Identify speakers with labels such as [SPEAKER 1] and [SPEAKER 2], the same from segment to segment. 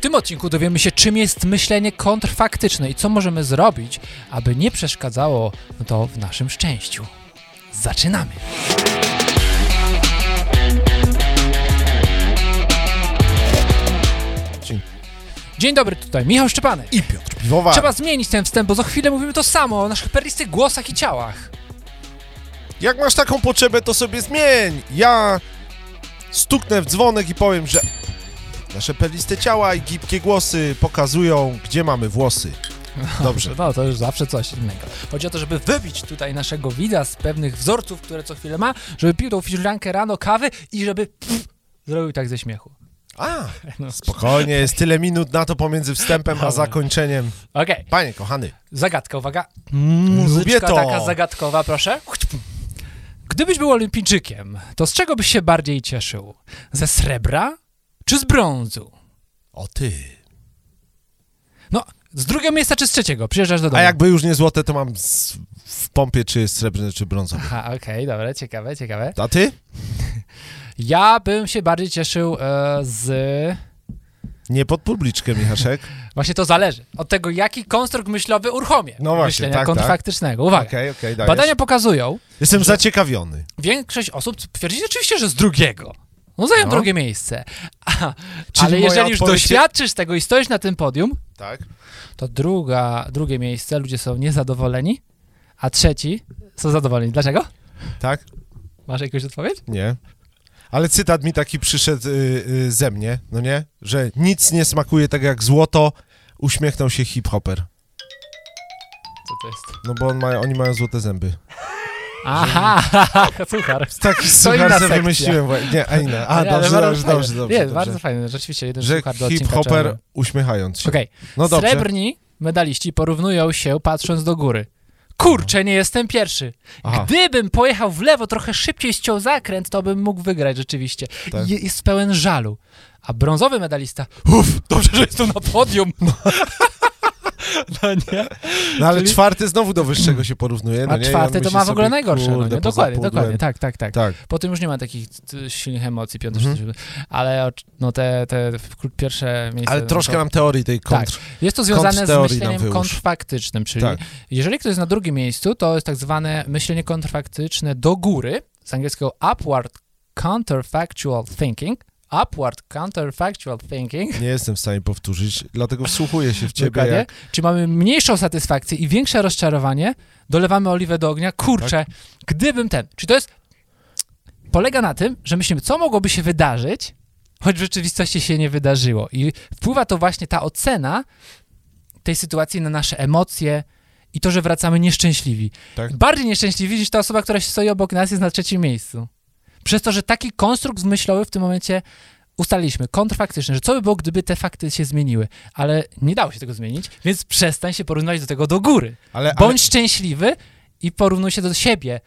[SPEAKER 1] tym odcinku dowiemy się, czym jest myślenie kontrfaktyczne i co możemy zrobić, aby nie przeszkadzało to w naszym szczęściu. Zaczynamy!
[SPEAKER 2] Dzień.
[SPEAKER 1] Dzień dobry, tutaj Michał Szczepanek.
[SPEAKER 2] I Piotr Piwowar.
[SPEAKER 1] Trzeba zmienić ten wstęp, bo za chwilę mówimy to samo o naszych perlistych głosach i ciałach.
[SPEAKER 2] Jak masz taką potrzebę, to sobie zmień. Ja stuknę w dzwonek i powiem, że nasze perliste ciała i gibkie głosy pokazują, gdzie mamy włosy. Dobrze.
[SPEAKER 1] No, to już zawsze coś innego. Chodzi o to, żeby wybić tutaj naszego widza z pewnych wzorców, które co chwilę ma, żeby pił tą filiżankę rano kawy i żeby pff, zrobił tak ze śmiechu.
[SPEAKER 2] A,
[SPEAKER 1] No.
[SPEAKER 2] spokojnie, jest tyle minut na to pomiędzy wstępem a zakończeniem.
[SPEAKER 1] Okej,
[SPEAKER 2] Panie kochany,
[SPEAKER 1] zagadka, uwaga. Muzyczka
[SPEAKER 2] Mm, to.
[SPEAKER 1] taka zagadkowa, proszę. Gdybyś był olimpijczykiem, to z czego byś się bardziej cieszył? Ze srebra czy z brązu?
[SPEAKER 2] o ty.
[SPEAKER 1] No, z drugiego miejsca czy z trzeciego? Przyjeżdżasz do domu.
[SPEAKER 2] A jakby już nie złote, to mam z, w pompie, czy jest srebrny, czy brązowy.
[SPEAKER 1] Aha, okej, dobra, ciekawe, ciekawe.
[SPEAKER 2] A ty?
[SPEAKER 1] Ja bym się bardziej cieszył e, z...
[SPEAKER 2] Nie pod publiczkę, Michaszek.
[SPEAKER 1] Właśnie to zależy od tego, jaki konstrukt myślowy uruchomię.
[SPEAKER 2] No właśnie,
[SPEAKER 1] myślenia
[SPEAKER 2] tak, tak.
[SPEAKER 1] kontrfaktycznego.
[SPEAKER 2] Okej,
[SPEAKER 1] Uwaga.
[SPEAKER 2] okej, dajesz.
[SPEAKER 1] Badania pokazują,
[SPEAKER 2] Jestem zaciekawiony.
[SPEAKER 1] większość osób twierdzi oczywiście, że z drugiego. No zajął
[SPEAKER 2] No.
[SPEAKER 1] drugie miejsce. A,
[SPEAKER 2] Czyli
[SPEAKER 1] ale
[SPEAKER 2] moja
[SPEAKER 1] jeżeli już
[SPEAKER 2] odpowiedź-
[SPEAKER 1] doświadczysz tego i stoisz na tym podium,
[SPEAKER 2] Tak?
[SPEAKER 1] to druga, drugie miejsce, ludzie są niezadowoleni, a trzeci są zadowoleni. Dlaczego?
[SPEAKER 2] Tak?
[SPEAKER 1] Masz jakąś odpowiedź?
[SPEAKER 2] Nie. Ale cytat mi taki przyszedł y, y, ze mnie, no nie? Że nic nie smakuje tak jak złoto, uśmiechnął się hip-hopper.
[SPEAKER 1] Co to jest?
[SPEAKER 2] No bo on ma, oni mają złote zęby.
[SPEAKER 1] Aha, suchar.
[SPEAKER 2] Taki
[SPEAKER 1] To inna
[SPEAKER 2] suchar sobie
[SPEAKER 1] sekcja.
[SPEAKER 2] wymyśliłem. wa- Nie, a inna. A,
[SPEAKER 1] Ale
[SPEAKER 2] dobrze,
[SPEAKER 1] bardzo
[SPEAKER 2] dobrze,
[SPEAKER 1] fajne.
[SPEAKER 2] dobrze, dobrze,
[SPEAKER 1] Nie,
[SPEAKER 2] dobrze.
[SPEAKER 1] bardzo fajne, rzeczywiście, jeden
[SPEAKER 2] Że
[SPEAKER 1] suchar do odcinka.
[SPEAKER 2] hip-hopper
[SPEAKER 1] czarny.
[SPEAKER 2] uśmiechając się.
[SPEAKER 1] Okej,
[SPEAKER 2] No dobrze.
[SPEAKER 1] Srebrni medaliści porównują się patrząc do góry. Kurczę, nie jestem pierwszy.
[SPEAKER 2] Aha.
[SPEAKER 1] Gdybym pojechał w lewo trochę szybciej, ściął zakręt, to bym mógł wygrać rzeczywiście.
[SPEAKER 2] Tak.
[SPEAKER 1] Je, jest pełen żalu. A brązowy medalista, uff, dobrze, że jestem na podium. No, nie?
[SPEAKER 2] No ale
[SPEAKER 1] czyli-
[SPEAKER 2] czwarty znowu do wyższego się porównuje. No
[SPEAKER 1] A
[SPEAKER 2] nie? I on
[SPEAKER 1] czwarty to
[SPEAKER 2] myśli
[SPEAKER 1] ma w ogóle
[SPEAKER 2] sobie,
[SPEAKER 1] najgorsze. no
[SPEAKER 2] kurde,
[SPEAKER 1] nie?
[SPEAKER 2] poza
[SPEAKER 1] Dokładnie,
[SPEAKER 2] pudłem.
[SPEAKER 1] dokładnie, tak, tak, tak.
[SPEAKER 2] Tak.
[SPEAKER 1] Po tym już nie ma takich t- silnych emocji, piąte,
[SPEAKER 2] Mhm.
[SPEAKER 1] szóste, siódme. ale o- no te, te pierwsze miejsce...
[SPEAKER 2] Ale
[SPEAKER 1] no
[SPEAKER 2] troszkę
[SPEAKER 1] to- Tak.
[SPEAKER 2] nam teorii tej kontr.
[SPEAKER 1] Jest to związane z
[SPEAKER 2] Kontrteorii nam
[SPEAKER 1] myśleniem
[SPEAKER 2] wyłóż.
[SPEAKER 1] kontrfaktycznym, czyli
[SPEAKER 2] Tak.
[SPEAKER 1] jeżeli ktoś jest na drugim miejscu, to jest tak zwane myślenie kontrfaktyczne do góry, z angielskiego upward counterfactual thinking. Upward counterfactual thinking.
[SPEAKER 2] Nie jestem w stanie powtórzyć, dlatego wsłuchuję się w ciebie.
[SPEAKER 1] Dokładnie.
[SPEAKER 2] Jak...
[SPEAKER 1] Czy mamy mniejszą satysfakcję i większe rozczarowanie, dolewamy oliwę do ognia. Kurczę,
[SPEAKER 2] Tak.
[SPEAKER 1] gdybym ten. Czy to jest. Polega na tym, że myślimy, co mogłoby się wydarzyć, choć w rzeczywistości się nie wydarzyło. I wpływa to właśnie ta ocena tej sytuacji na nasze emocje i to, że wracamy nieszczęśliwi.
[SPEAKER 2] Tak.
[SPEAKER 1] Bardziej nieszczęśliwi niż ta osoba, która się stoi obok nas, jest na trzecim miejscu. Przez to, że taki konstrukt zmyślowy w tym momencie ustaliliśmy, kontrfaktyczny, że co by było, gdyby te fakty się zmieniły, ale nie dało się tego zmienić, więc przestań się porównywać do tego do góry.
[SPEAKER 2] Ale, ale
[SPEAKER 1] Bądź szczęśliwy i porównuj się do siebie,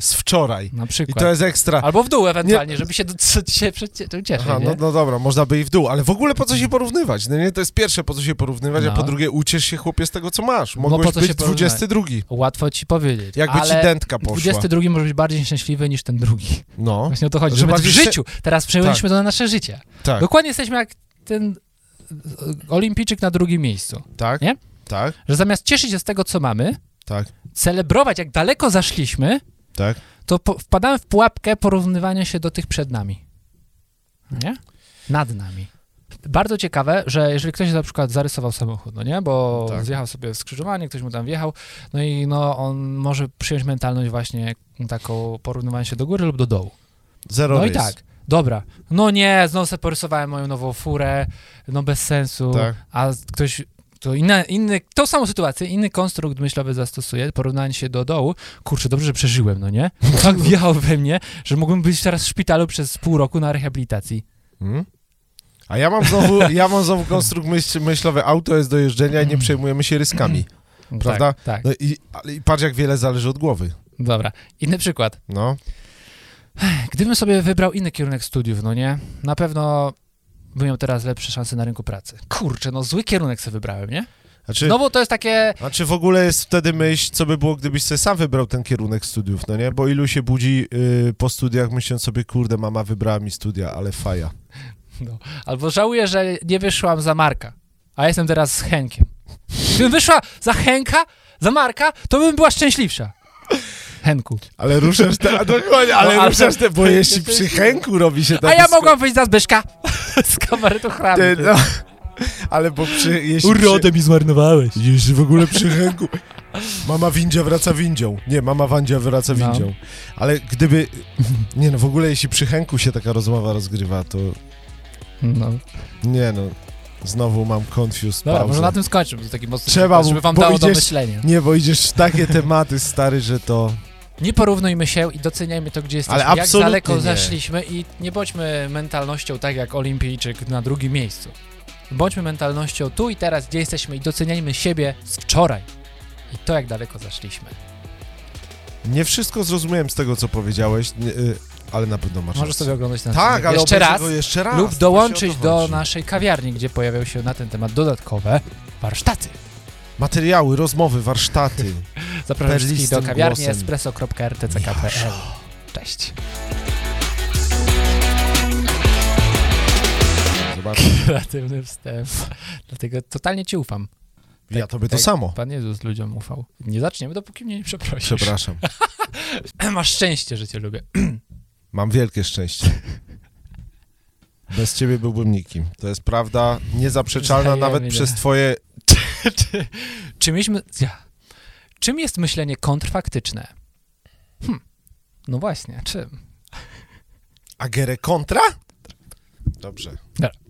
[SPEAKER 2] z wczoraj.
[SPEAKER 1] na
[SPEAKER 2] I
[SPEAKER 1] przykład.
[SPEAKER 2] to jest ekstra.
[SPEAKER 1] Albo w dół ewentualnie, żeby się do, co ci się przecie- ucieszyć.
[SPEAKER 2] Aha, no,
[SPEAKER 1] tak, nie?
[SPEAKER 2] no dobra, można by i w dół, ale w ogóle po co się porównywać? No nie, to jest pierwsze, po co się porównywać,
[SPEAKER 1] No.
[SPEAKER 2] a po drugie uciesz się chłopie z tego, co masz.
[SPEAKER 1] No,
[SPEAKER 2] Mogłeś
[SPEAKER 1] po co się
[SPEAKER 2] być
[SPEAKER 1] porównywać?
[SPEAKER 2] 22.
[SPEAKER 1] Łatwo ci powiedzieć.
[SPEAKER 2] Jakby
[SPEAKER 1] ale
[SPEAKER 2] ci dętka poszła.
[SPEAKER 1] 22 może być bardziej szczęśliwy niż ten drugi.
[SPEAKER 2] No,
[SPEAKER 1] Właśnie o to chodzi,
[SPEAKER 2] Że
[SPEAKER 1] że my w
[SPEAKER 2] bardziej się-
[SPEAKER 1] życiu teraz przejęliśmy to na nasze życie.
[SPEAKER 2] tak,
[SPEAKER 1] Dokładnie jesteśmy jak ten e, olimpijczyk na drugim miejscu,
[SPEAKER 2] tak,
[SPEAKER 1] nie? No
[SPEAKER 2] tak,
[SPEAKER 1] że zamiast cieszyć się z tego, co mamy,
[SPEAKER 2] tak,
[SPEAKER 1] celebrować, jak daleko zaszliśmy,
[SPEAKER 2] tak.
[SPEAKER 1] to po, wpadamy w pułapkę porównywania się do tych przed nami. Nie? Nad nami. Bardzo ciekawe, że jeżeli ktoś na przykład zarysował samochód, no nie, bo
[SPEAKER 2] Tak.
[SPEAKER 1] zjechał sobie w skrzyżowanie, ktoś mu tam wjechał, no i no on może przyjąć mentalność właśnie taką porównywania się do góry lub do dołu.
[SPEAKER 2] Zero
[SPEAKER 1] No i
[SPEAKER 2] rys.
[SPEAKER 1] tak, dobra, no nie, znowu sobie porysowałem moją nową furę, no bez sensu,
[SPEAKER 2] Tak.
[SPEAKER 1] a z- ktoś, to inna, inny, tą samą sytuację, inny konstrukt myślowy zastosuje, porównanie się do dołu, kurczę, dobrze, że przeżyłem, no nie? Tak wjechał we mnie, że mógłbym być teraz w szpitalu przez pół roku na rehabilitacji.
[SPEAKER 2] Hmm? A ja mam znowu, ja mam znowu konstrukt myśl, myślowy, auto jest do jeżdżenia i nie przejmujemy się ryskami.
[SPEAKER 1] No
[SPEAKER 2] Prawda?
[SPEAKER 1] Tak, tak.
[SPEAKER 2] No i, ale, i patrz, jak wiele zależy od głowy.
[SPEAKER 1] dobra. Inny przykład.
[SPEAKER 2] No,
[SPEAKER 1] Gdybym sobie wybrał inny kierunek studiów, no nie? Na pewno bym miał teraz lepsze szanse na rynku pracy. Kurczę, no zły kierunek sobie wybrałem, nie?
[SPEAKER 2] znaczy...
[SPEAKER 1] No bo to jest takie,
[SPEAKER 2] A czy Znaczy, w ogóle jest wtedy myśl, co by było, gdybyś sobie sam wybrał ten kierunek studiów, no nie? Bo ilu się budzi y, po studiach myśląc sobie, kurde, mama wybrała mi studia, ale faja.
[SPEAKER 1] No. Albo żałuję, że nie wyszłam za Marka, a jestem teraz z Henkiem. Gdybym wyszła za Henka, za Marka, to bym była szczęśliwsza. Henku.
[SPEAKER 2] Ale ruszasz te, a dokładnie, ale,
[SPEAKER 1] No, ale-
[SPEAKER 2] ruszasz te, bo jeśli
[SPEAKER 1] to jest-
[SPEAKER 2] przy Henku robi się tak...
[SPEAKER 1] A ja mogłam wyjść za Zbyszka z kabaretu hramu.
[SPEAKER 2] Ty, no, ale bo przy... Jeśli
[SPEAKER 1] mi zmarnowałeś.
[SPEAKER 2] Przy, jeśli w ogóle przy Henku... Mama windzia wraca windzią. Nie, mama wandzia wraca
[SPEAKER 1] No.
[SPEAKER 2] windzią. Ale gdyby... Nie no, w ogóle jeśli przy Henku się taka rozmowa rozgrywa, to...
[SPEAKER 1] No.
[SPEAKER 2] Nie no, znowu mam confused
[SPEAKER 1] Dobra,
[SPEAKER 2] pauzę.
[SPEAKER 1] może na tym skończymy. To taki mocny
[SPEAKER 2] Trzeba,
[SPEAKER 1] przykład, żeby wam
[SPEAKER 2] bo
[SPEAKER 1] dało do
[SPEAKER 2] idziesz-
[SPEAKER 1] myślenia.
[SPEAKER 2] Nie, bo idziesz w takie tematy, stary, że to...
[SPEAKER 1] Nie porównujmy się i doceniajmy to, gdzie jesteśmy,
[SPEAKER 2] Ale
[SPEAKER 1] jak
[SPEAKER 2] absolutnie
[SPEAKER 1] daleko
[SPEAKER 2] nie.
[SPEAKER 1] zeszliśmy i nie bądźmy mentalnością tak jak olimpijczyk na drugim miejscu. Bądźmy mentalnością tu i teraz, gdzie jesteśmy i doceniajmy siebie z wczoraj. I to, jak daleko zeszliśmy.
[SPEAKER 2] Nie wszystko zrozumiałem z tego, co powiedziałeś, nie, y, ale na pewno masz
[SPEAKER 1] Możesz
[SPEAKER 2] rację.
[SPEAKER 1] sobie oglądać ten
[SPEAKER 2] Tak,
[SPEAKER 1] odcinek
[SPEAKER 2] ale
[SPEAKER 1] jeszcze
[SPEAKER 2] obejrzę
[SPEAKER 1] raz
[SPEAKER 2] go jeszcze raz.
[SPEAKER 1] lub
[SPEAKER 2] to
[SPEAKER 1] dołączyć
[SPEAKER 2] się o to
[SPEAKER 1] do
[SPEAKER 2] chodzi.
[SPEAKER 1] naszej kawiarni, gdzie pojawią się na ten temat dodatkowe warsztaty.
[SPEAKER 2] Materiały, rozmowy, warsztaty.
[SPEAKER 1] Zapraszam wszystkich do
[SPEAKER 2] Perlistym
[SPEAKER 1] kawiarni
[SPEAKER 2] głosem.
[SPEAKER 1] espresso.rtck.pl Cześć.
[SPEAKER 2] Zobacz,
[SPEAKER 1] kreatywny wstęp. Dlatego totalnie ci ufam.
[SPEAKER 2] ja tobie to
[SPEAKER 1] tak.
[SPEAKER 2] samo.
[SPEAKER 1] Pan Jezus ludziom ufał. Nie zaczniemy, dopóki mnie nie przeprosisz.
[SPEAKER 2] Przepraszam.
[SPEAKER 1] Masz szczęście, że cię lubię.
[SPEAKER 2] Mam wielkie szczęście. Bez ciebie byłbym nikim. To jest prawda niezaprzeczalna
[SPEAKER 1] Wzajemnie.
[SPEAKER 2] nawet przez twoje...
[SPEAKER 1] Czy- Czym, jest, my- ja. Czym jest myślenie kontrfaktyczne? Hm. No właśnie, czym?
[SPEAKER 2] A Gerę kontra? E Dobrze.
[SPEAKER 1] Dobra.